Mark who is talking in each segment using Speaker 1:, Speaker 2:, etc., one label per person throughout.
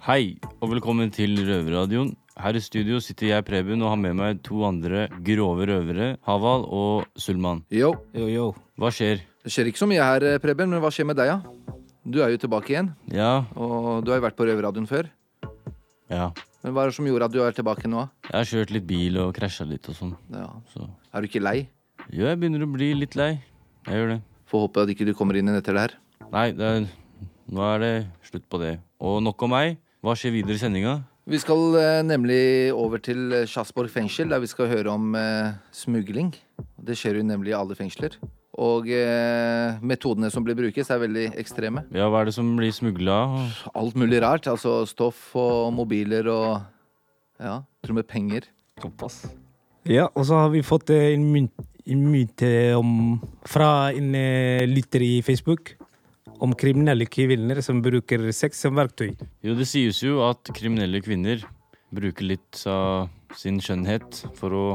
Speaker 1: Hei, og velkommen til Røverradioen. Her i studio sitter jeg, Preben, og har med meg to andre grove røvere. Haval og Sulman.
Speaker 2: Yo.
Speaker 3: Yo, yo.
Speaker 1: Hva skjer?
Speaker 2: Det skjer ikke så mye her, eh, Preben, men hva skjer med deg, da? Du er jo tilbake igjen,
Speaker 1: Ja,
Speaker 2: og du har jo vært på Røverradioen før.
Speaker 1: ja.
Speaker 2: Men hva er det som gjorde at du er tilbake nå?
Speaker 1: Jeg har kjørt litt bil og krasja litt og sånn.
Speaker 2: Ja.
Speaker 1: Så
Speaker 2: Er du ikke lei?
Speaker 1: jo, jeg begynner å bli litt lei. Jeg gjør det.
Speaker 2: Får håpe at ikke du kommer inn igjen etter det her.
Speaker 1: Nei, det er, nå er det slutt på det. Og nok om meg. Hva skjer videre i sendinga?
Speaker 2: Vi skal eh, nemlig over til eh, Sjassborg fengsel, der vi skal høre om eh, smugling. Det skjer jo nemlig i alle fengsler. Og eh, metodene som blir brukes, er veldig ekstreme.
Speaker 1: Ja, hva er det som blir smugla?
Speaker 2: Alt mulig rart. Altså stoff og mobiler og Ja, til og med penger.
Speaker 3: Såpass. Ja, og så har vi fått eh, en mynt, en mynt eh, om, fra en eh, lytter i Facebook om kriminelle kvinner som bruker sex som verktøy.
Speaker 1: Jo, det sies jo at kriminelle kvinner bruker litt av sin skjønnhet for å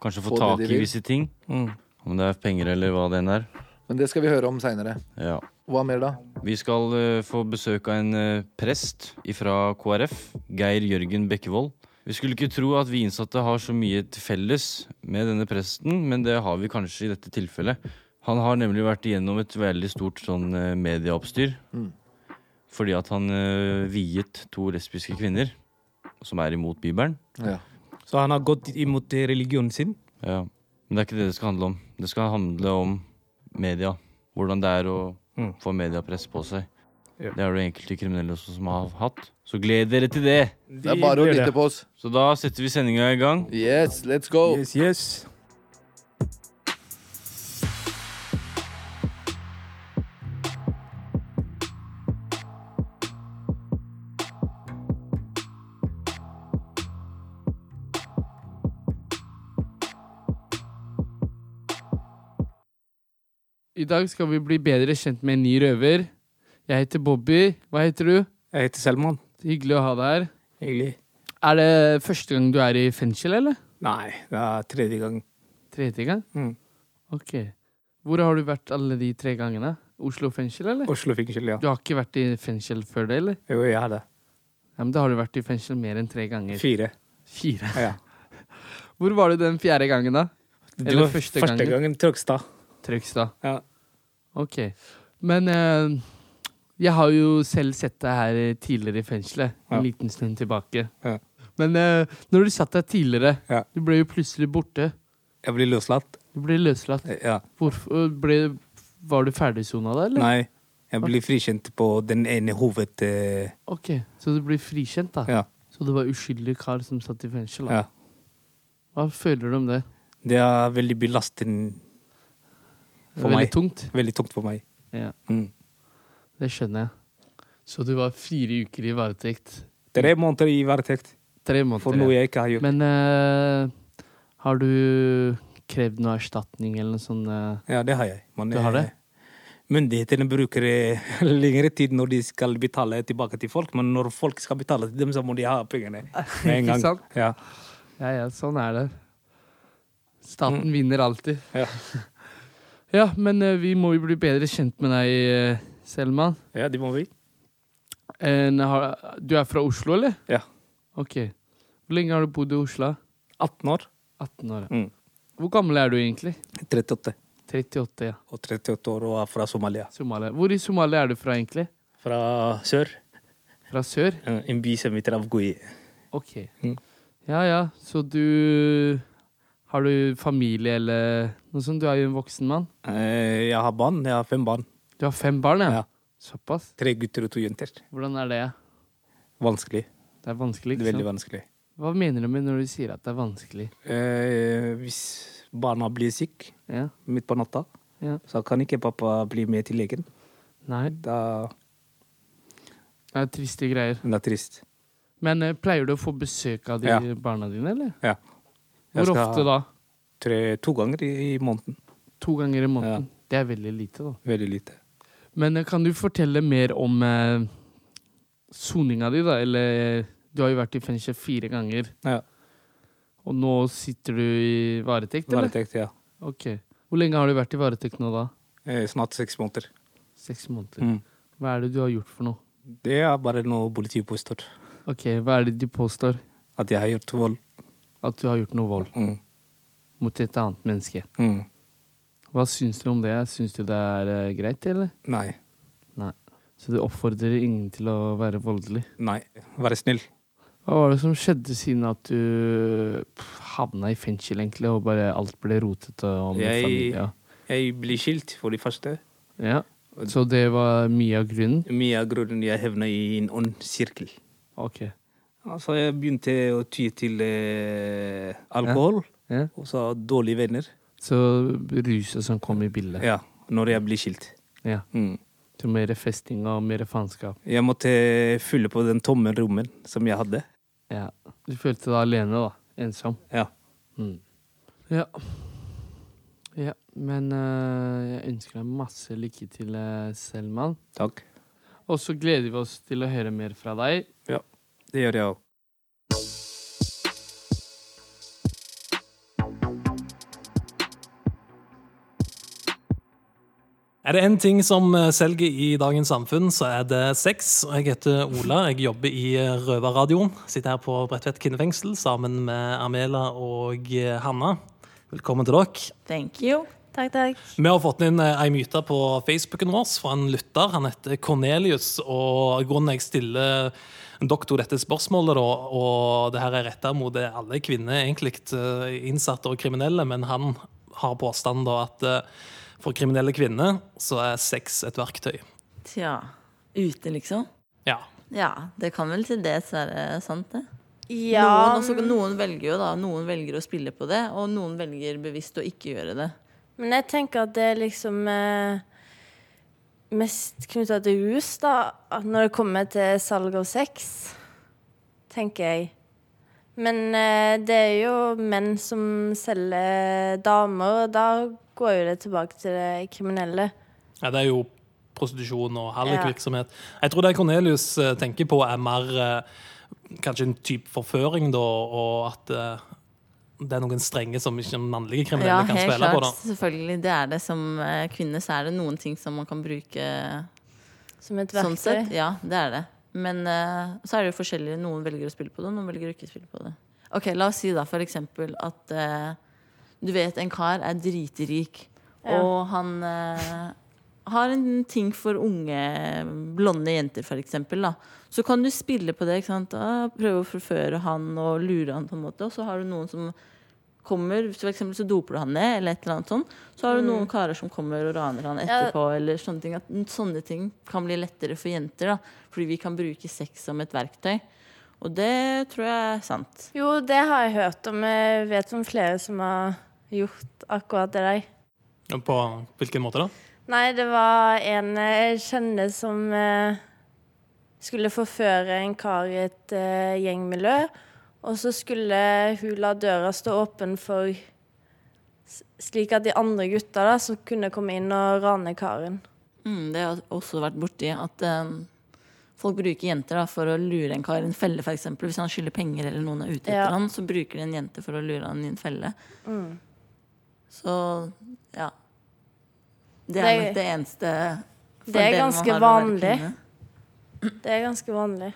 Speaker 1: kanskje få,
Speaker 2: Få det
Speaker 1: tak
Speaker 2: de
Speaker 1: i
Speaker 2: vil.
Speaker 1: visse ting.
Speaker 3: Mm.
Speaker 1: Om det er penger eller hva det enn er.
Speaker 2: Men det skal vi høre om seinere.
Speaker 1: Ja.
Speaker 2: Hva mer, da?
Speaker 1: Vi skal eh, få besøk av en eh, prest fra KrF, Geir Jørgen Bekkevold. Vi skulle ikke tro at vi innsatte har så mye til felles med denne presten, men det har vi kanskje i dette tilfellet. Han har nemlig vært igjennom et veldig stort sånn eh, medieoppstyr.
Speaker 2: Mm.
Speaker 1: Fordi at han eh, viet to lesbiske kvinner som er imot Bibelen.
Speaker 2: Ja.
Speaker 3: Så han har gått imot eh, religionen sin.
Speaker 1: Ja. Men det er ikke det det skal handle om. Det skal handle om media. Hvordan det er å
Speaker 3: Mm.
Speaker 1: få mediepress på seg.
Speaker 3: Ja.
Speaker 1: Det er det enkelte kriminelle også som har hatt. Så gled dere til det!
Speaker 2: Det er bare å lytte på oss.
Speaker 1: Så da setter vi sendinga i gang.
Speaker 2: Yes, let's go!
Speaker 3: Yes, yes.
Speaker 4: I dag skal vi bli bedre kjent med en ny røver. Jeg heter Bobby. Hva heter du?
Speaker 3: Jeg heter Selman.
Speaker 4: Hyggelig å ha deg her.
Speaker 3: Hyggelig.
Speaker 4: Er det første gang du er i fengsel, eller?
Speaker 3: Nei, det er tredje gang.
Speaker 4: Tredje gang?
Speaker 3: Mm.
Speaker 4: Ok. Hvor har du vært alle de tre gangene? Oslo fengsel, eller?
Speaker 3: Oslo fengsel, ja.
Speaker 4: Du har ikke vært i fengsel før det, eller?
Speaker 3: Jo, jeg har det.
Speaker 4: Ja, men Da har du vært i fengsel mer enn tre ganger.
Speaker 3: Fire.
Speaker 4: Fire.
Speaker 3: Ja.
Speaker 4: Hvor var du den fjerde gangen, da?
Speaker 3: Det
Speaker 4: Eller
Speaker 3: var
Speaker 4: første
Speaker 3: Første
Speaker 4: gangen.
Speaker 3: gangen Trøgstad.
Speaker 4: Trøgstad.
Speaker 3: Ja.
Speaker 4: Ok. Men eh, jeg har jo selv sett deg her eh, tidligere i fengselet. En
Speaker 3: Ja.
Speaker 4: liten stund tilbake.
Speaker 3: Ja.
Speaker 4: Men eh, når du satt der tidligere,
Speaker 3: Ja.
Speaker 4: du ble jo plutselig borte.
Speaker 3: Jeg ble løslatt. Eh,
Speaker 4: Du ble løslatt.
Speaker 3: Ja.
Speaker 4: Hvorfor ble, Var du ferdigsona da, eller?
Speaker 3: Nei, jeg ble frikjent på den ene hoved... eh,
Speaker 4: Ok, Så du ble frikjent, da?
Speaker 3: Ja.
Speaker 4: Så det var uskyldig kar som satt i fengsel? da?
Speaker 3: ja.
Speaker 4: Hva føler du om det?
Speaker 3: Det er veldig belastende.
Speaker 4: Det
Speaker 3: For
Speaker 4: er veldig
Speaker 3: meg.
Speaker 4: tungt.
Speaker 3: Veldig tungt for meg.
Speaker 4: Ja,
Speaker 3: Mm.
Speaker 4: Det skjønner jeg. Så du var fire uker i varetekt.
Speaker 3: Tre måneder i varetekt
Speaker 4: Tre måneder.
Speaker 3: for
Speaker 4: ja.
Speaker 3: noe jeg ikke har gjort.
Speaker 4: Men eh, har du krevd noe erstatning eller noe sånt? eh?
Speaker 3: Ja, det har jeg. Men,
Speaker 4: Du har det?
Speaker 3: eh, Myndighetene bruker eh, lengre tid når de skal betale tilbake til folk, men når folk skal betale til dem, så må de ha pengene med en
Speaker 4: Ah, Ikke
Speaker 3: gang.
Speaker 4: sant?
Speaker 3: Ja.
Speaker 4: Ja, ja, sånn er det. Staten vinner alltid.
Speaker 3: Mm. Ja.
Speaker 4: Ja, men eh, vi må jo bli bedre kjent med deg, eh, Selman.
Speaker 3: ja, det må vi.
Speaker 4: En har- Du er fra Oslo, eller?
Speaker 3: Ja.
Speaker 4: Ok. Hvor lenge har du bodd i Oslo?
Speaker 3: 18 år.
Speaker 4: 18 år. ja.
Speaker 3: Mm.
Speaker 4: Hvor gammel er du egentlig?
Speaker 3: 38.
Speaker 4: 38, ja.
Speaker 3: Og 38 år og er fra Somalia.
Speaker 4: Somalia. Hvor i Somalia er du fra, egentlig?
Speaker 3: Fra sør.
Speaker 4: Fra sør?
Speaker 3: eh, En by som heter Avgui.
Speaker 4: Ok.
Speaker 3: Mm.
Speaker 4: Ja ja, så du Har du familie eller noe sånt? Du er jo en voksen mann.
Speaker 3: Eh, Jeg har barn. Jeg har fem barn.
Speaker 4: Du har fem barn, ja?
Speaker 3: Ja.
Speaker 4: Såpass?
Speaker 3: Tre gutter og to jenter.
Speaker 4: Hvordan er det?
Speaker 3: Vanskelig.
Speaker 4: Det er vanskelig,
Speaker 3: Det er
Speaker 4: ikke
Speaker 3: veldig
Speaker 4: sant?
Speaker 3: vanskelig.
Speaker 4: Hva mener du med når du sier at det er vanskelig?
Speaker 3: Eh, Hvis barna blir syke
Speaker 4: Ja.
Speaker 3: midt på natta,
Speaker 4: ja.
Speaker 3: så kan ikke pappa bli med til legen.
Speaker 4: Nei,
Speaker 3: Da
Speaker 4: det er triste greier.
Speaker 3: Det er trist.
Speaker 4: Men eh, pleier du å få besøk av de
Speaker 3: Ja.
Speaker 4: barna dine, eller?
Speaker 3: Ja. Jeg
Speaker 4: Hvor
Speaker 3: skal
Speaker 4: ofte
Speaker 3: ha
Speaker 4: da?
Speaker 3: Tre, to ganger i, i måneden.
Speaker 4: To ganger i måneden? Det er veldig lite, da.
Speaker 3: Veldig lite.
Speaker 4: Men eh, kan du fortelle mer om eh, soninga di, da? Eller eh, Du har jo vært i fengsel fire ganger.
Speaker 3: Ja,
Speaker 4: Og nå sitter du i varetekt, eller?
Speaker 3: Varetekt, ja.
Speaker 4: Ok. Hvor lenge har du vært i varetekt nå, da?
Speaker 3: Eh, Snart seks måneder.
Speaker 4: Seks måneder.
Speaker 3: Mm.
Speaker 4: Hva er det du har gjort for noe?
Speaker 3: Det er bare noe politiet påstår.
Speaker 4: Ok, Hva er det de påstår?
Speaker 3: At jeg har gjort vold.
Speaker 4: At du har gjort noe vold
Speaker 3: Mm.
Speaker 4: mot et annet menneske.
Speaker 3: Mm.
Speaker 4: Hva syns du om det? Syns du det er eh, greit, eller?
Speaker 3: Nei.
Speaker 4: Nei. Så du oppfordrer ingen til å være voldelig?
Speaker 3: Nei. Vær snill.
Speaker 4: Hva var det som skjedde siden at du pff, havna i fengsel, egentlig, og bare alt ble rotete og med
Speaker 3: Jeg-
Speaker 4: familie?
Speaker 3: Jeg blir skilt, for det første.
Speaker 4: Ja. Så det var mye av grunnen?
Speaker 3: Mye av grunnen jeg havna i en ond sirkel.
Speaker 4: Ok.
Speaker 3: Altså, jeg begynte å ty til eh, alkohol,
Speaker 4: Ja.
Speaker 3: og så dårlige venner.
Speaker 4: Så ruset som kom i bildet.
Speaker 3: Ja, når jeg blir skilt.
Speaker 4: Ja.
Speaker 3: Mm.
Speaker 4: Så mer festing og mer faenskap.
Speaker 3: Jeg måtte fylle på den tomme rommen som jeg hadde.
Speaker 4: Ja. Du følte deg alene, da. Ensom.
Speaker 3: Ja.
Speaker 4: Mm. Ja. Ja, men eh, jeg ønsker deg masse lykke til, eh, Selman.
Speaker 3: Takk.
Speaker 4: Og så gleder vi oss til å høre mer fra deg.
Speaker 3: Det gjør jeg òg.
Speaker 5: Er det én ting som eh, selger i dagens samfunn, så er det sex. Og Jeg heter Ola, jeg jobber i eh, Røverradioen. Sitter her på Bredtvet kvinnefengsel sammen med Amela og eh, Hanna. Velkommen til dere.
Speaker 6: Thank you. Takk, takk.
Speaker 5: Vi har fått inn eh, ei myte på Facebooken vår fra en lytter. Han heter Cornelius. Og grunnen jeg stiller dere to dette spørsmålet, da, og det her er retta mot det alle kvinner, egentlig eh, innsatte og kriminelle, men han har påstanden da at eh, for kriminelle kvinner så er sex et verktøy.
Speaker 6: Tja. Ute, liksom?
Speaker 5: Ja.
Speaker 6: Ja, det kan vel til dels være sant, det. Noen,
Speaker 7: Ja,
Speaker 6: altså, noen velger jo da, noen velger å spille på det, og noen velger bevisst å ikke gjøre det.
Speaker 7: men jeg tenker at det er liksom eh, mest knytta til rus, da. At når det kommer til salg av sex, tenker jeg. Men eh, det er jo menn som selger damer, og da går jo det tilbake til det kriminelle.
Speaker 5: ja. Det er jo prostitusjon og hallikvirksomhet.
Speaker 7: Ja.
Speaker 5: Jeg tror det Cornelius eh, tenker på, er mer eh, kanskje en type forføring, da, og at eh, det er noen strenger som ikke mannlige kriminelle kan spille på. da.
Speaker 6: Selvfølgelig. Det er det som eh, kvinne, så er det noen ting som man kan bruke
Speaker 7: Som et verktøy.
Speaker 6: sånn sett. Ja, det er det. Men eh, så er det jo forskjellig. Noen velger å spille på det, og noen velger å ikke spille på det. Ok, La oss si da for eksempel at eh, du vet en kar er dritrik,
Speaker 7: Ja.
Speaker 6: og han eh, har en ting for unge blonde jenter, for eksempel. Da. Så kan du spille på det. Ikke sant? Ah, Prøve å forføre han og lure han, på en måte. Og så har du noen som kommer, for eksempel så doper du han ned, eller et eller annet sånt. Så har du noen karer som kommer og raner han etterpå, eller sånne ting. At sånne ting kan bli lettere for jenter, da. Fordi vi kan bruke sex som et verktøy. Og det tror jeg er sant.
Speaker 7: Jo, det har jeg hørt om. Jeg vet om flere som har gjort akkurat det der.
Speaker 5: På hvilken måte da?
Speaker 7: Nei, det var en eh, jeg kjenner som eh, skulle forføre en kar i et eh, gjengmiljø. Og så skulle hun la døra stå åpen for s- slik at de andre gutta da, som kunne komme inn og rane karen.
Speaker 6: Mm, det har jeg også vært borti at eh, folk bruker jenter da, for å lure en kar i en felle, f.eks. Hvis han skylder penger eller noen er ute etter
Speaker 7: Ja.
Speaker 6: han, så bruker de en jente for å lure han i en felle. Så ja. Det er
Speaker 7: Det-
Speaker 6: nok det eneste
Speaker 7: Det er
Speaker 6: fordelen man
Speaker 7: ganske
Speaker 6: har ved å være
Speaker 7: vanlig.
Speaker 6: kvinne.
Speaker 7: Det er ganske vanlig.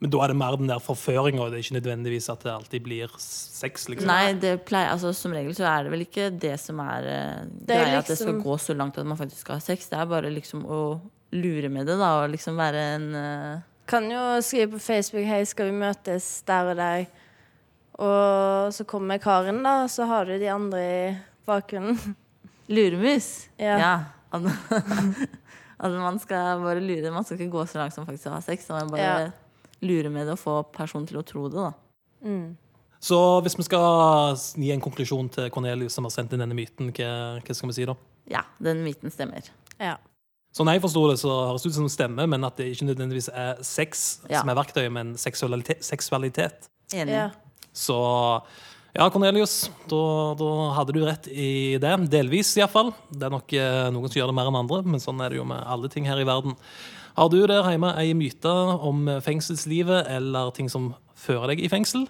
Speaker 5: Men da er det mer den der forføringa, og det er ikke nødvendigvis at det alltid blir sex, liksom.
Speaker 6: Nei, det pleier, altså, som regel så er det vel ikke det som er eh,
Speaker 7: Det er
Speaker 6: greia, at det skal
Speaker 7: liksom-
Speaker 6: gå så langt at man faktisk skal ha sex. Det er bare liksom å lure med det, da, og liksom være en eh,
Speaker 7: Kan jo skrive på Facebook 'Hei, skal vi møtes der og der?' Og så kommer karen, da, og så har du de andre i bakgrunnen.
Speaker 6: Luremus?
Speaker 7: Ja.
Speaker 6: At, at man skal bare lure. Man skal ikke gå så langt som faktisk å ha sex. Man bare
Speaker 7: Ja.
Speaker 6: lure med det og få personen til å tro det. da
Speaker 5: Så hvis vi skal gi en konklusjon til Cornelius, som har sendt inn denne myten, hva, hva skal vi si da?
Speaker 6: Ja, den myten stemmer.
Speaker 7: Ja.
Speaker 5: Sånn jeg forstår det, så høres det ut som det stemmer, men at det ikke nødvendigvis er sex
Speaker 6: Ja.
Speaker 5: som er verktøyet, men seksualitet. seksualitet.
Speaker 6: Enig.
Speaker 7: ja.
Speaker 5: Så ja, Cornelius, da, da hadde du rett i det. Delvis, iallfall. Det er nok eh, noen som gjør det mer enn andre, men sånn er det jo med alle ting her i verden. Har du der hjemme ei myte om eh, fengselslivet eller ting som fører deg i fengsel?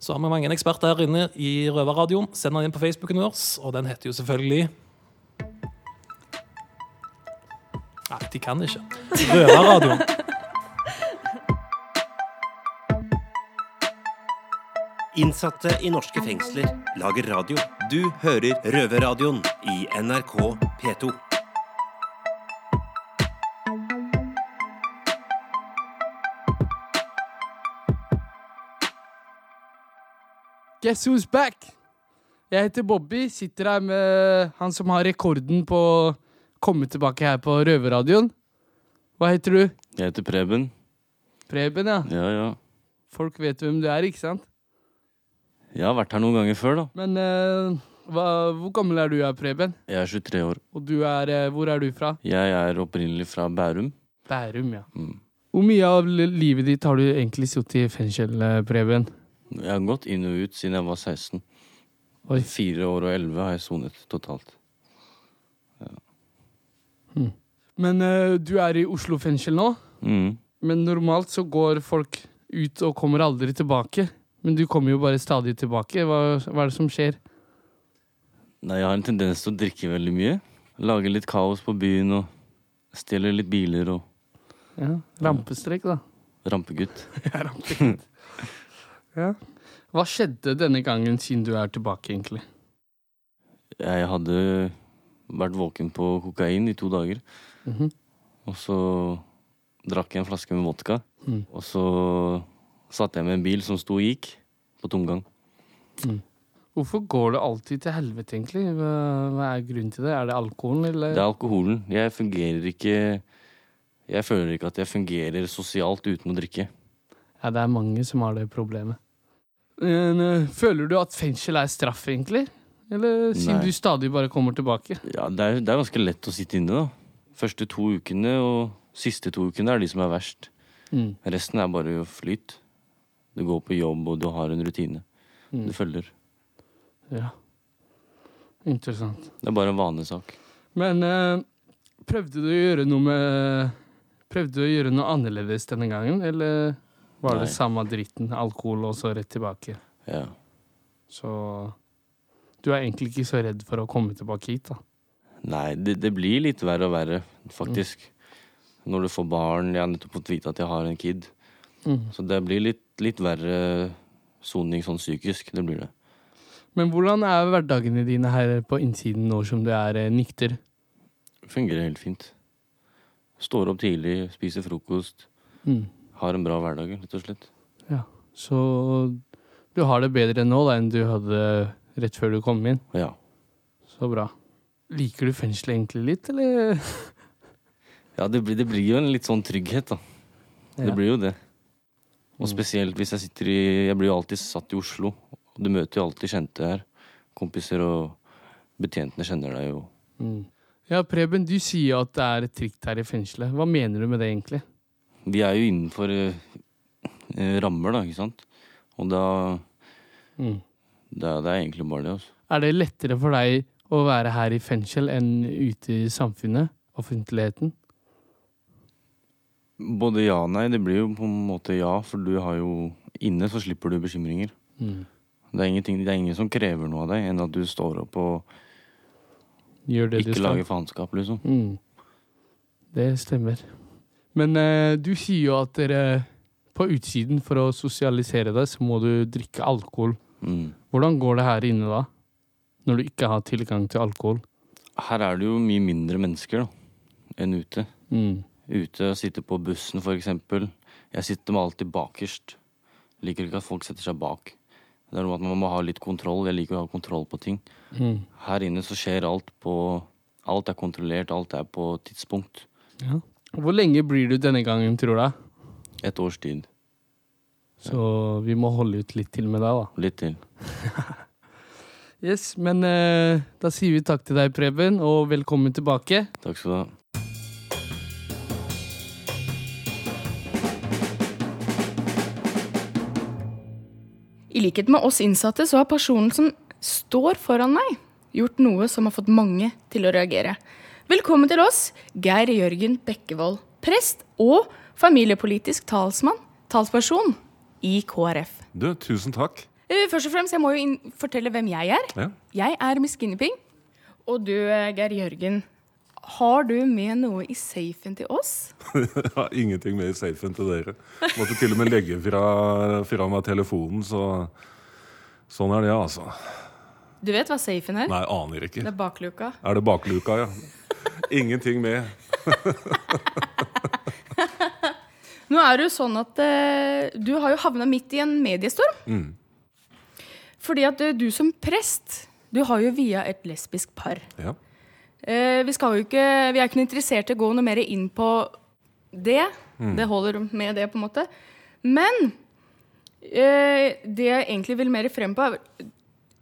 Speaker 5: Så har vi mange eksperter her inne i Røverradioen. Send den inn på Facebooken vår, og den heter jo selvfølgelig Nei, de kan ikke. Røverradioen.
Speaker 8: Innsatte i norske fengsler lager radio. Du hører Røverradioen i NRK P2.
Speaker 4: Guess who's back? Jeg heter Bobby, sitter her med han som har rekorden på å komme tilbake her på Røverradioen. Hva heter du?
Speaker 1: Jeg heter Preben.
Speaker 4: Preben, ja.
Speaker 1: Ja, ja.
Speaker 4: Folk vet hvem du er, ikke sant?
Speaker 1: Jeg har vært her noen ganger før, da.
Speaker 4: Men eh, hva, hvor gammel er du, her, Preben?
Speaker 1: Jeg er 23 år.
Speaker 4: Og du er, eh, hvor er du fra?
Speaker 1: Jeg er opprinnelig fra Bærum.
Speaker 4: Bærum, ja.
Speaker 1: Mm.
Speaker 4: Hvor mye av li- livet ditt har du egentlig sittet i fengsel, eh, Preben?
Speaker 1: Jeg har gått inn og ut siden jeg var 16.
Speaker 4: Oi.
Speaker 1: Fire år og elleve har jeg sonet totalt.
Speaker 4: Men eh, du er i Oslo fengsel nå,
Speaker 1: Mm.
Speaker 4: men normalt så går folk ut og kommer aldri tilbake. Men du kommer jo bare stadig tilbake. Hva, hva er det som skjer?
Speaker 1: Nei, jeg har en tendens til å drikke veldig mye. Lage litt kaos på byen og stjele litt biler og
Speaker 4: Ja. Rampestrek, da.
Speaker 1: rampegutt.
Speaker 4: Ja. Hva skjedde denne gangen siden du er tilbake, egentlig?
Speaker 1: Jeg hadde vært våken på kokain i to dager,
Speaker 4: Mhm.
Speaker 1: og så drakk jeg en flaske med vodka.
Speaker 4: Mm.
Speaker 1: Og så satte jeg med en bil som sto og gikk på tomgang.
Speaker 4: Hvorfor går det alltid til helvete, egentlig? Hva, hva er grunnen til det? Er det alkoholen, eller?
Speaker 1: Det er alkoholen. Jeg fungerer ikke Jeg føler ikke at jeg fungerer sosialt uten å drikke.
Speaker 4: Ja, det er mange som har det problemet. Men, eh, føler du at fengsel er straff, egentlig? Eller siden
Speaker 1: Nei.
Speaker 4: du stadig bare kommer tilbake?
Speaker 1: Ja, det er, det er ganske lett å sitte inne, da. Første to ukene og siste to ukene er de som er verst.
Speaker 4: Mm.
Speaker 1: Resten er bare flyt. Du går på jobb, og du har en rutine.
Speaker 4: Mm.
Speaker 1: Du følger.
Speaker 4: Ja. Interessant.
Speaker 1: Det er bare en vanesak.
Speaker 4: Men eh, prøvde du å gjøre noe med Prøvde du å gjøre noe annerledes denne gangen, eller var det
Speaker 1: Nei.
Speaker 4: samme dritten? Alkohol og så rett tilbake.
Speaker 1: Ja.
Speaker 4: Så du er egentlig ikke så redd for å komme tilbake hit, da.
Speaker 1: Nei, det, det blir litt verre og verre, faktisk.
Speaker 4: Mm.
Speaker 1: Når du får barn. Jeg har nettopp fått vite at jeg har en kid.
Speaker 4: Mm.
Speaker 1: Så det blir litt, litt verre soning sånn psykisk. Det blir det.
Speaker 4: Men hvordan er hverdagene dine her på innsiden nå som du er eh, nikter?
Speaker 1: Fungerer helt fint. Står opp tidlig, spiser frokost.
Speaker 4: Mm.
Speaker 1: Har en bra hverdag, rett og slett.
Speaker 4: Så du har det bedre nå da enn du hadde rett før du kom inn.
Speaker 1: Ja.
Speaker 4: Så bra. Liker du fengselet egentlig litt, eller?
Speaker 1: Ja, det blir, det blir jo en litt sånn trygghet, da.
Speaker 4: Ja.
Speaker 1: Det blir jo det. Og
Speaker 4: Mm.
Speaker 1: spesielt hvis jeg sitter i Jeg blir jo alltid satt i Oslo. Og du møter jo alltid kjente her. Kompiser og betjentene kjenner deg jo.
Speaker 4: Mm. Ja, Preben, du sier jo at det er trygt her i fengselet. Hva mener du med det, egentlig?
Speaker 1: Vi er jo innenfor eh, eh, rammer, da, ikke sant? Og da
Speaker 4: Mm.
Speaker 1: Det er, det er egentlig bare det, altså.
Speaker 4: Er det lettere for deg å være her i fengsel enn ute i samfunnet? Offentligheten?
Speaker 1: Både ja og nei. Det blir jo på en måte ja, for du har jo Inne så slipper du bekymringer.
Speaker 4: Mm.
Speaker 1: Det er, ingenting, det er ingen som krever noe av deg, enn at du står opp og
Speaker 4: Gjør det
Speaker 1: ikke
Speaker 4: du skal.
Speaker 1: lager faenskap, liksom.
Speaker 4: Mm. Det stemmer. Men eh, du sier jo at dere på utsiden, for å sosialisere deg, så må du drikke alkohol.
Speaker 1: Mm.
Speaker 4: Hvordan går det her inne da? Når du ikke har tilgang til alkohol?
Speaker 1: Her er det jo mye mindre mennesker da, enn ute.
Speaker 4: Mm.
Speaker 1: Ute og sitte på bussen, for eksempel. Jeg sitter med alltid bakerst. Liker ikke at folk setter seg bak. Det er noe at man må ha litt kontroll. Jeg liker å ha kontroll på ting.
Speaker 4: Mm.
Speaker 1: Her inne så skjer alt på Alt er kontrollert, alt er på tidspunkt.
Speaker 4: Hvor lenge blir du denne gangen, tror jeg?
Speaker 1: Et års tid.
Speaker 4: Så vi må holde ut litt til med deg, da.
Speaker 1: Litt til.
Speaker 4: Yes, men eh, da sier vi takk til deg, Preben, og velkommen tilbake.
Speaker 1: Takk skal du ha.
Speaker 9: I likhet med oss innsatte så har personen som står foran meg, gjort noe som har fått mange til å reagere. Velkommen til oss, Geir Jørgen Bekkevold, prest og familiepolitisk talsmann, talsperson i KrF.
Speaker 10: Du, tusen takk.
Speaker 9: Eh, Først og fremst, jeg må jo inn fortelle hvem jeg er.
Speaker 10: Ja.
Speaker 9: Jeg er Miss Guinevere. Og du, eh, Geir Jørgen, har du med noe i safen til oss?
Speaker 10: Jeg har ingenting mer safe enn til dere. Måtte til og med legge fra, fra meg telefonen, så Sånn er det, altså.
Speaker 9: Du vet hva safen er?
Speaker 10: Nei, aner ikke.
Speaker 9: Det er bakluka.
Speaker 10: Er det bakluka, ja? Ingenting med.
Speaker 9: Nå er det jo sånn at eh, du har jo havna midt i en mediestorm.
Speaker 10: Mm.
Speaker 9: Fordi at eh, du som prest, du har jo via et lesbisk par.
Speaker 10: Ja.
Speaker 9: Eh, vi, skal jo ikke, vi er ikke noe interessert i å gå noe mer inn på det. Det holder med det, på en måte. Men eh, det jeg egentlig vil mer frem på, er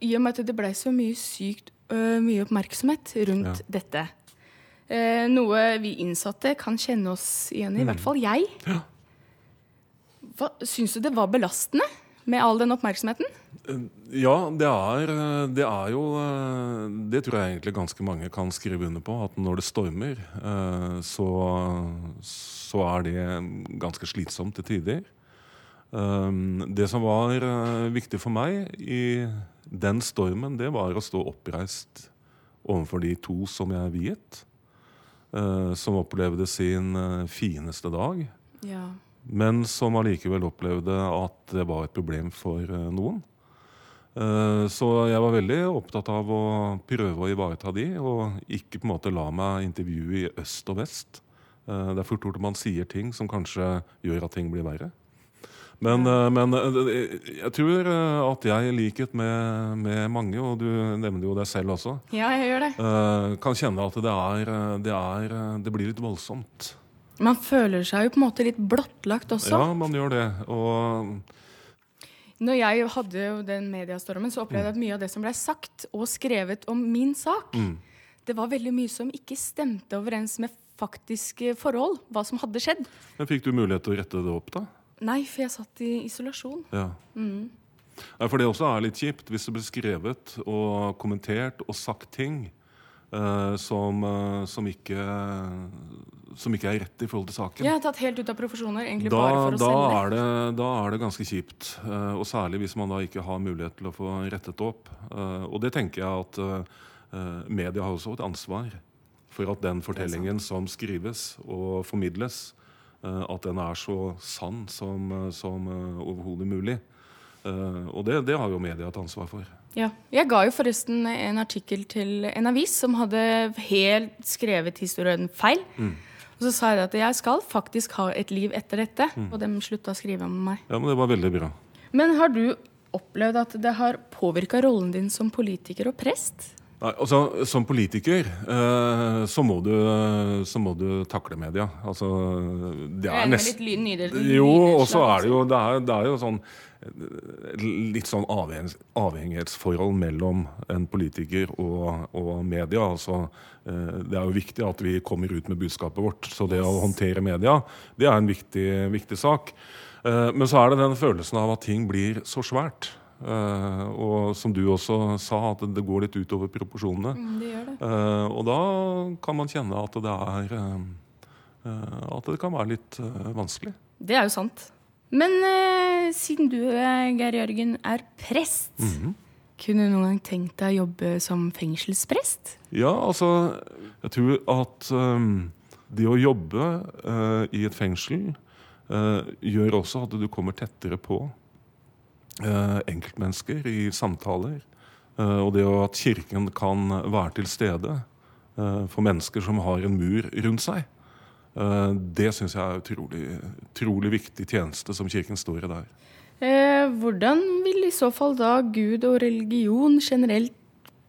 Speaker 9: i og med at det blei så mye sykt eh, mye oppmerksomhet rundt dette. Eh, noe vi innsatte kan kjenne oss igjen i, i hvert fall jeg. Hva, syns du det var belastende med all den oppmerksomheten?
Speaker 10: Ja, det er, eh, det er jo eh, Det tror jeg egentlig ganske mange kan skrive under på. At når det stormer, eh, så, så er det ganske slitsomt til tider. Um, Det som var eh, viktig for meg i den stormen, det var å stå oppreist overfor de to som jeg viet. eh, Som opplevde sin eh, fineste dag.
Speaker 9: Ja.
Speaker 10: men som allikevel opplevde at det var et problem for eh, noen. Eh, Så jeg var veldig opptatt av å prøve å ivareta de, og ikke på en måte la meg intervjue i øst og vest. Eh, Det er fort gjort at man sier ting som kanskje gjør at ting blir verre. Men, eh, men eh, jeg tror eh, at jeg, i likhet med, med mange, og du nevner jo deg selv også,
Speaker 9: Ja, jeg gjør det.
Speaker 10: eh, kan kjenne at det, er, eh, det, er, eh, det blir litt voldsomt.
Speaker 9: Man føler seg jo på en måte litt blottlagt også.
Speaker 10: Ja, man gjør det. Og
Speaker 9: Når jeg hadde jo den mediestormen, så opplevde jeg
Speaker 10: Mm.
Speaker 9: at mye av det som ble sagt og skrevet om min sak, det var veldig mye som ikke stemte overens med faktiske forhold, hva som hadde skjedd.
Speaker 10: Men fikk du mulighet til å rette det opp, da?
Speaker 9: Nei, for jeg satt i isolasjon. Mm.
Speaker 10: Ja. Nei, for det også er litt kjipt hvis det blir skrevet og kommentert og sagt ting eh, som, eh, som, ikke, som ikke er rett i forhold til saken.
Speaker 9: Jeg er tatt helt ut av profesjoner, egentlig
Speaker 10: Da,
Speaker 9: bare for å
Speaker 10: da,
Speaker 9: selge.
Speaker 10: er det, da er det ganske kjipt. eh, og særlig hvis man da ikke har mulighet til å få rettet det opp. Eh, og det tenker jeg at eh, media har også et ansvar for at den fortellingen som skrives og formidles, eh, at den er så sann som, eh, som eh, overhodet mulig. Eh, og det, det har jo media et ansvar for.
Speaker 9: Ja. Jeg ga jo forresten en artikkel til en avis som hadde helt skrevet historien feil. Og så sa jeg at jeg skal faktisk ha et liv etter dette.
Speaker 10: Mm.
Speaker 9: Og de slutta å skrive om meg.
Speaker 10: Ja, men det var veldig bra.
Speaker 9: Men har du opplevd at det har påvirka rollen din som politiker og prest?
Speaker 10: Nei, altså, Som politiker eh, så, må du, så må du takle media. Altså, det er nesten Jo, og så er det jo, det er, det er jo sånn eh, litt sånn avhengighets- avhengighetsforhold mellom en politiker og, og media. Altså, eh, det er jo viktig at vi kommer ut med budskapet vårt. Så det å håndtere media, det er en viktig, viktig sak. Eh, Men så er det den følelsen av at ting blir så svært. Eh, og som du også sa, at det går litt utover proporsjonene.
Speaker 9: Mm, det gjør det.
Speaker 10: Eh, og da kan man kjenne at det er eh, eh, At det kan være litt eh, vanskelig.
Speaker 9: Det er jo sant. Men eh, siden du, eh, Geir Jørgen, er prest,
Speaker 10: Mm.
Speaker 9: kunne du noen gang tenkt deg å jobbe som fengselsprest?
Speaker 10: Ja, altså Jeg tror at øhm, det å jobbe øh, i et fengsel øh, gjør også at du kommer tettere på øh, enkeltmennesker i samtaler. Øh, og det å at kirken kan være til stede øh, for mennesker som har en mur rundt seg, øh, det syns jeg er utrolig, utrolig viktig tjeneste som kirken står i der.
Speaker 9: Eh, hvordan vil i så fall da Gud og religion generelt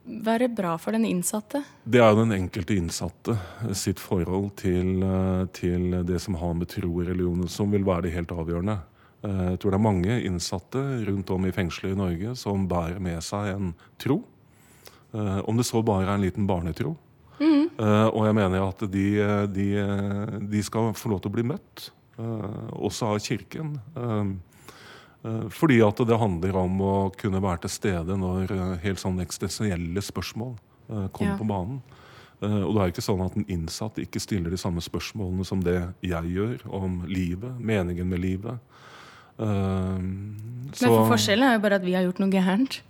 Speaker 9: være bra for den innsatte?
Speaker 10: Det er jo den enkelte innsatte eh, sitt forhold til, eh, til det som har med tro og religion som vil være det helt avgjørende. Eh, Jeg tror det er mange innsatte rundt om i fengselet i Norge som bærer med seg en tro. Eh, Om det så bare er en liten barnetro. Eh, Og jeg mener at de, eh, de, eh, de skal få lov til å bli møtt, eh, også av kirken. Eh, eh, Fordi at det handler om å kunne være til stede når eh, helt sånn eksistensielle spørsmål eh, kommer
Speaker 9: Ja.
Speaker 10: på banen. Eh, Og det er ikke sånn at en innsatt ikke stiller de samme spørsmålene som det jeg gjør, om livet, meningen med livet. Eh,
Speaker 9: Men
Speaker 10: så-
Speaker 9: for Forskjellen er jo bare at vi har gjort noe gærent.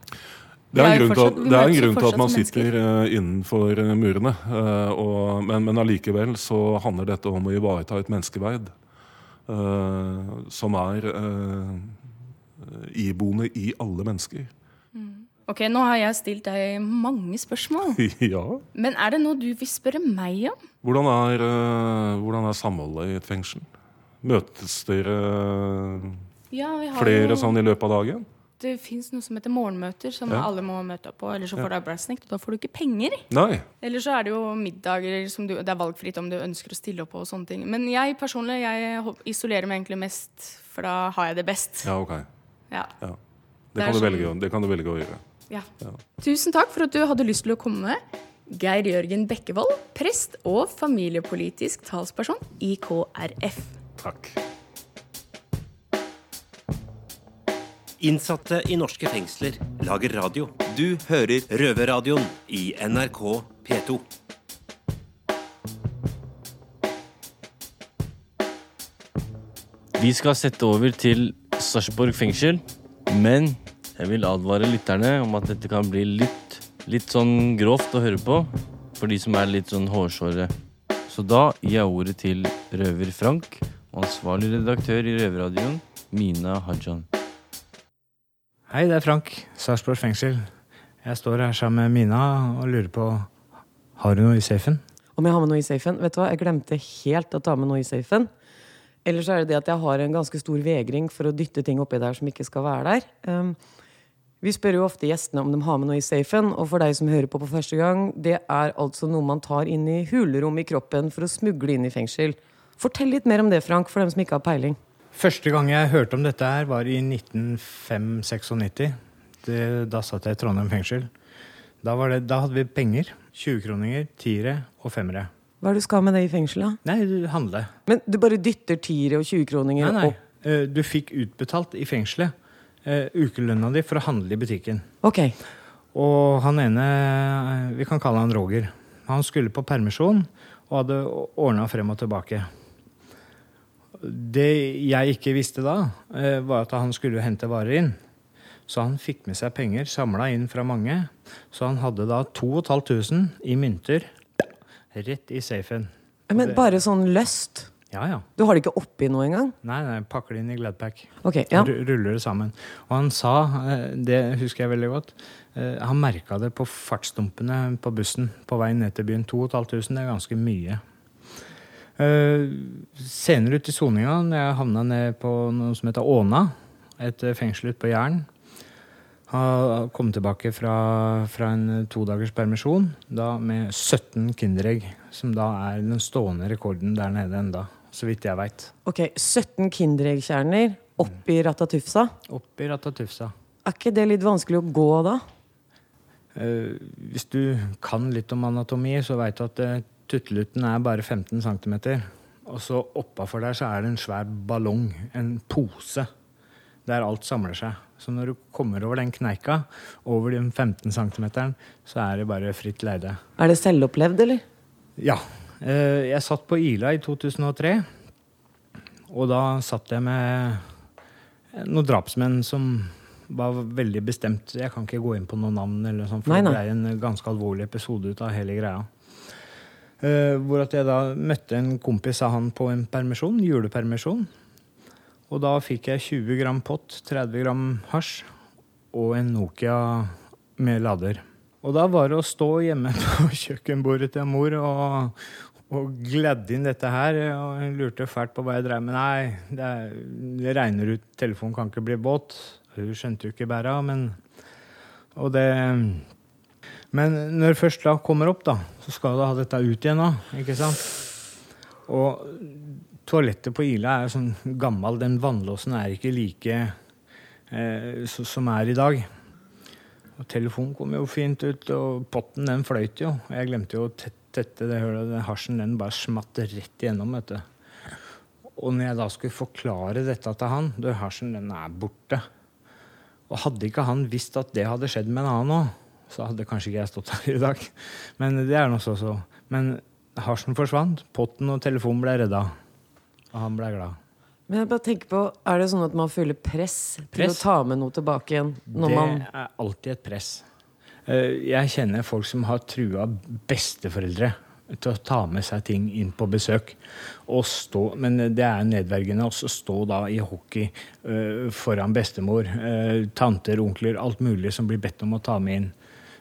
Speaker 10: det er
Speaker 9: Vi er
Speaker 10: en
Speaker 9: jo
Speaker 10: grunn til at,
Speaker 9: fortsatt- vi
Speaker 10: det er en
Speaker 9: møtes jo
Speaker 10: grunn til at
Speaker 9: fortsatt
Speaker 10: man
Speaker 9: som
Speaker 10: sitter eh, innenfor eh, murene. eh, og, men, men allikevel så handler dette om å ivareta et menneskeverd eh, som er eh, iboende i alle mennesker.
Speaker 9: Mm. Ok, nå har jeg stilt deg mange spørsmål.
Speaker 10: ja.
Speaker 9: Men er det noe du vil spørre meg om?
Speaker 10: Hvordan er, eh, hvordan er samholdet i et fengsel? Møtes dere
Speaker 9: Ja, vi har
Speaker 10: flere
Speaker 9: jo,
Speaker 10: sånn i løpet av dagen?
Speaker 9: Det fins noe som heter morgenmøter, som
Speaker 10: Ja.
Speaker 9: alle må møte opp på. Eller så får du arbeidsnekt, og da får du ikke penger.
Speaker 10: Nei.
Speaker 9: Eller så er det jo middager som du, det er valgfritt om du ønsker å stille opp på. og sånne ting. Men jeg personlig jeg hop- isolerer meg egentlig mest, for da har jeg det best.
Speaker 10: Ja, ok.
Speaker 9: Ja.
Speaker 10: Ja.
Speaker 9: Det
Speaker 10: Det,
Speaker 9: er
Speaker 10: kan du
Speaker 9: sånn-
Speaker 10: velge, å- det kan du velge å gjøre.
Speaker 9: Ja.
Speaker 10: Ja.
Speaker 9: Tusen takk for at du hadde lyst til å komme. Geir Jørgen Bekkevold, prest og familiepolitisk talsperson i KrF.
Speaker 10: Takk.
Speaker 8: Innsatte i norske fengsler lager radio. Du hører Røverradioen i NRK P2.
Speaker 1: Vi skal sette over til Sarpsborg fengsel, men jeg vil advare lytterne om at dette kan bli litt, litt sånn grovt å høre på for de som er litt sånn hårsåre. Så da gir jeg ordet til Røver Frank og ansvarlig redaktør i Røverradioen, Mina Hajan.
Speaker 11: Hei, det er Frank, Sarpsborg fengsel. Jeg står her sammen med Mina og lurer på Har du noe i safen?
Speaker 12: Om jeg har med noe i safen? Vet du hva, jeg glemte helt å ta med noe i safen. Eller så er det det at jeg har en ganske stor vegring for å dytte ting oppi der som ikke skal være der. Ehm, vi spør jo ofte gjestene om de har med noe i safen, og for deg som hører på på første gang, det er altså noe man tar inn i hulrom i kroppen for å smugle inn i fengsel. Fortell litt mer om det, Frank, for dem som ikke har peiling.
Speaker 11: Første gang jeg hørte om dette her, var i 1995-96. Det- Da satt jeg i Trondheim fengsel. Da, var det, da hadde vi penger. 20-kroninger, tiere og femmere.
Speaker 12: Hva er det du skal med det i fengsel, da?
Speaker 11: Nei, du handler.
Speaker 12: Men du bare dytter tiere og 20-kroninger
Speaker 11: Nei, nei.
Speaker 12: opp?
Speaker 11: Eh, Du fikk utbetalt i fengselet eh, ukelønna di for å handle i butikken.
Speaker 12: Ok.
Speaker 11: Og han ene, eh, vi kan kalle han Roger, han skulle på permisjon og hadde ordna frem og tilbake. Det jeg ikke visste da, eh, var at han skulle hente varer inn. Så han fikk med seg penger samla inn fra mange. Så han hadde da 2500 i mynter rett i safen.
Speaker 12: Men bare sånn løst?
Speaker 11: Ja, ja.
Speaker 12: Du har det ikke oppi noe engang?
Speaker 11: Nei, nei, pakker det inn i Gladpack.
Speaker 12: Ok, ja.
Speaker 11: Ru- Ruller det sammen. Og han sa, eh, det husker jeg veldig godt, eh, han merka det på fartsdumpene på bussen på vei ned til byen. 2500, det er ganske mye. Eh, Senere ut i soninga, når jeg havna ned på noe som heter Åna, et eh, fengsel ute på Jæren Har kommet tilbake fra, fra en todagers permisjon da med 17 Kinderegg, som da er den stående rekorden der nede enda, så vidt jeg veit.
Speaker 12: Ok, 17 Kindereggkjerner oppi Ratatufsa.
Speaker 11: Oppi Ratatufsa.
Speaker 12: Er ikke det litt vanskelig å gå da?
Speaker 11: Eh, hvis du kan litt om anatomi, så veit du at uh, tuttelutten er bare 15 cm. Og så oppafor der så er det en svær ballong, en pose, der alt samler seg. Så når du kommer over den kneika, over den 15 cm, så er det bare fritt leide.
Speaker 12: Er det selvopplevd, eller?
Speaker 11: Ja. eh, jeg satt på Ila i 2003. Og da satt jeg med noen drapsmenn som var veldig bestemt. Jeg kan ikke gå inn på noen navn, eller sånn, for
Speaker 12: Nei,
Speaker 11: det
Speaker 12: nei.
Speaker 11: ble en ganske alvorlig episode ut av hele greia. Eh, hvor at jeg da møtte en kompis av han på en permisjon, julepermisjon. Og da fikk jeg 20 gram pott, 30 gram hasj og en Nokia med lader. Og da var det å stå hjemme på kjøkkenbordet til mor og, og gledde inn dette her. Og hun lurte fælt på hva jeg drev med. Nei, det, er, det regner ut, telefonen kan ikke bli båt. Hun skjønte jo ikke bæra, men Og det Men når det først da kommer opp, da, så skal du ha dette ut igjen da, ikke sant? Og toalettet på Ila er jo sånn gammel. Den vannlåsen er ikke like eh, så- som er i dag. Og telefonen kom jo fint ut, og potten den fløyt jo. Og jeg glemte jo å tet- tette det hullet. Den hasjen den bare smatt rett igjennom, vet du. Og når jeg da skulle forklare dette til han, du, hasjen den er borte. Og hadde ikke han visst at det hadde skjedd med en annen òg, så hadde kanskje ikke jeg stått her i dag. Men det er nå så så. Men hasjen forsvant, potten og telefonen ble redda. Og han ble glad.
Speaker 12: Men jeg bare tenker på, Er det sånn at man føler press, til å
Speaker 11: Press?
Speaker 12: ta med noe tilbake igjen? Når
Speaker 11: det
Speaker 12: man,
Speaker 11: er alltid et press. Eh, Jeg kjenner folk som har trua besteforeldre til å ta med seg ting inn på besøk. Og stå, men det er nedverdigende å stå da i hockey eh, foran bestemor, eh, tanter, onkler, alt mulig som blir bedt om å ta med inn.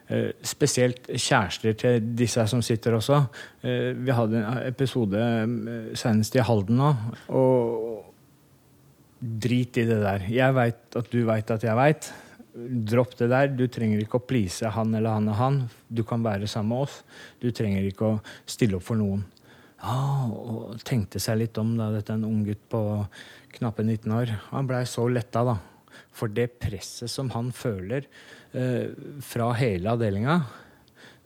Speaker 11: Eh, spesielt kjærester til disse som sitter også. Eh, vi hadde en episode eh, senest i Halden nå. og Drit i det der. Jeg veit at du veit at jeg veit. Dropp det der. Du trenger ikke å please han eller han og han. Du kan være sammen med oss. Du trenger ikke å stille opp for noen. Ja, og tenkte seg litt om da, dette er en ung gutt på knappe 19 år. Han blei så letta, da. For det presset som han føler eh, fra hele avdelinga,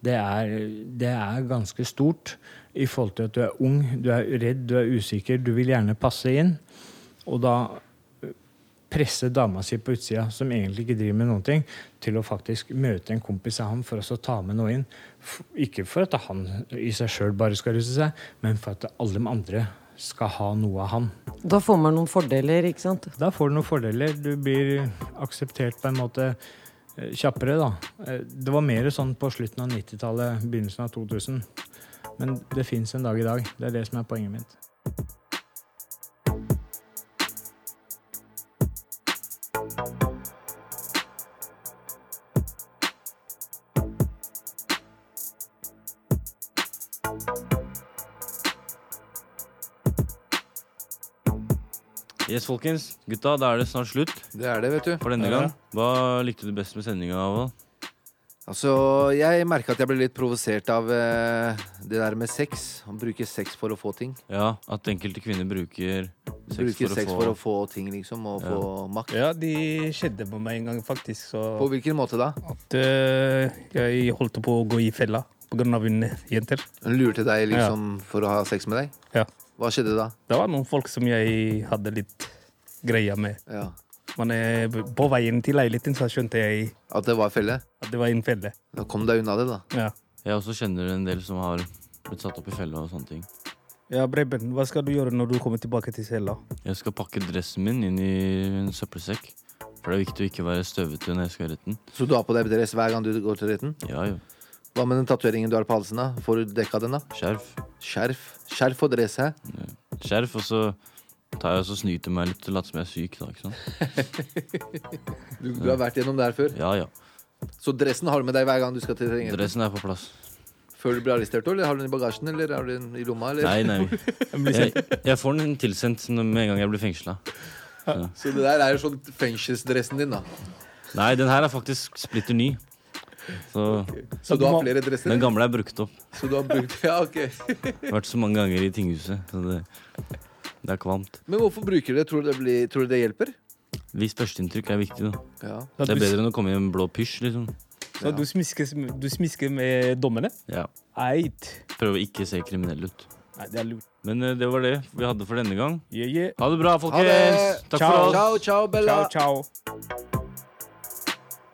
Speaker 11: det er, det er ganske stort i forhold til at du er ung, du er redd, du er usikker, du vil gjerne passe inn. Og da presse dama si på utsida, som egentlig ikke driver med noen ting, til å faktisk møte en kompis av ham for også å ta med noe inn. F- Ikke for at han i seg sjøl bare skal ruse seg, men for at alle de andre skal ha noe av han.
Speaker 12: Da får man noen fordeler, ikke sant?
Speaker 11: Da får du noen fordeler. Du blir akseptert på en måte eh, kjappere, da. Eh, Det var mer sånn på slutten av 90-tallet, begynnelsen av 2000. Men det fins en dag i dag. Det er det som er poenget mitt.
Speaker 1: Yes, folkens. Gutta, da er det snart slutt.
Speaker 2: Det er det, vet du.
Speaker 1: For denne
Speaker 2: Ja, ja.
Speaker 1: gang. Hva likte du best med sendinga, Ava?
Speaker 2: Altså, jeg merka at jeg ble litt provosert av eh, det der med sex. Han bruker sex for å få ting.
Speaker 1: Ja, at enkelte kvinner bruker sex,
Speaker 2: bruker
Speaker 1: for,
Speaker 2: sex
Speaker 1: å få...
Speaker 2: for å få ting, liksom. Og
Speaker 1: Ja.
Speaker 2: få makt.
Speaker 13: Ja, de skjedde på meg en gang, faktisk. Så
Speaker 2: På hvilken måte da?
Speaker 13: at eh, jeg holdt på å gå i fella pga. en jenter.
Speaker 2: Hun lurte deg liksom for å ha sex med deg?
Speaker 13: Ja.
Speaker 2: Hva skjedde da?
Speaker 13: Det var noen folk som jeg hadde litt greia med.
Speaker 2: Ja.
Speaker 13: Men eh, på veien til leiligheten så skjønte jeg
Speaker 2: At det var felle?
Speaker 13: At det var en felle.
Speaker 2: Da kom deg unna det, da.
Speaker 13: Ja.
Speaker 1: Jeg også kjenner en del som har blitt satt opp i fella og sånne ting.
Speaker 13: Ja, Breben, hva skal du gjøre når du kommer tilbake til cella?
Speaker 1: Jeg skal pakke dressen min inn i en søppelsekk. For det er viktig å ikke være støvete når jeg skal i retten.
Speaker 2: Så du har på deg dress hver gang du går til retten?
Speaker 1: Ja, jo.
Speaker 2: Hva med den tatoveringen du har på halsen? da? Får du dekka den, da?
Speaker 1: Skjerf.
Speaker 2: Skjerf Skjerf og dress, hæ?
Speaker 1: Skjerf, og så tar jeg og så snyter meg litt og later som jeg er syk. da, ikke sant?
Speaker 2: Du, du har vært gjennom det her før?
Speaker 1: Ja, ja.
Speaker 2: Så dressen har du med deg hver gang du skal til retten?
Speaker 1: Dressen er på plass.
Speaker 2: Før du blir arrestert, eller har du den i bagasjen, eller har du den i lomma? Eller?
Speaker 1: Nei, nei. Jeg, jeg får den tilsendt når- med en gang jeg blir fengsla.
Speaker 2: Så det der er jo sånn fengselsdressen din, da.
Speaker 1: Nei, den her er faktisk splitter ny. Så,
Speaker 2: Så du har flere dresser?
Speaker 1: Den gamle er brukt opp.
Speaker 2: Så du har brukt Ja, ok.
Speaker 1: Vært så mange ganger i tinghuset. Så det, det er kvalmt.
Speaker 2: Men hvorfor bruker du det? Tror du det, blir, tror du det hjelper?
Speaker 1: Hvis førsteinntrykk er viktig, da.
Speaker 2: Ja.
Speaker 1: Det er bedre enn å komme i en blå pysj, liksom.
Speaker 13: Så du, smisker, du smisker med dommene?
Speaker 1: Ja.
Speaker 13: Eit.
Speaker 1: Prøve å ikke se kriminell ut.
Speaker 13: Nei, det er lurt.
Speaker 1: Men eh, det var det vi hadde for denne gang.
Speaker 13: Yeah, yeah.
Speaker 1: Ha det bra,
Speaker 13: Ha
Speaker 1: folkens!
Speaker 13: det.
Speaker 1: Takk
Speaker 13: Ciao.
Speaker 1: for oss.
Speaker 13: Ciao,
Speaker 2: ciao,
Speaker 13: Bella. Ciao, ciao.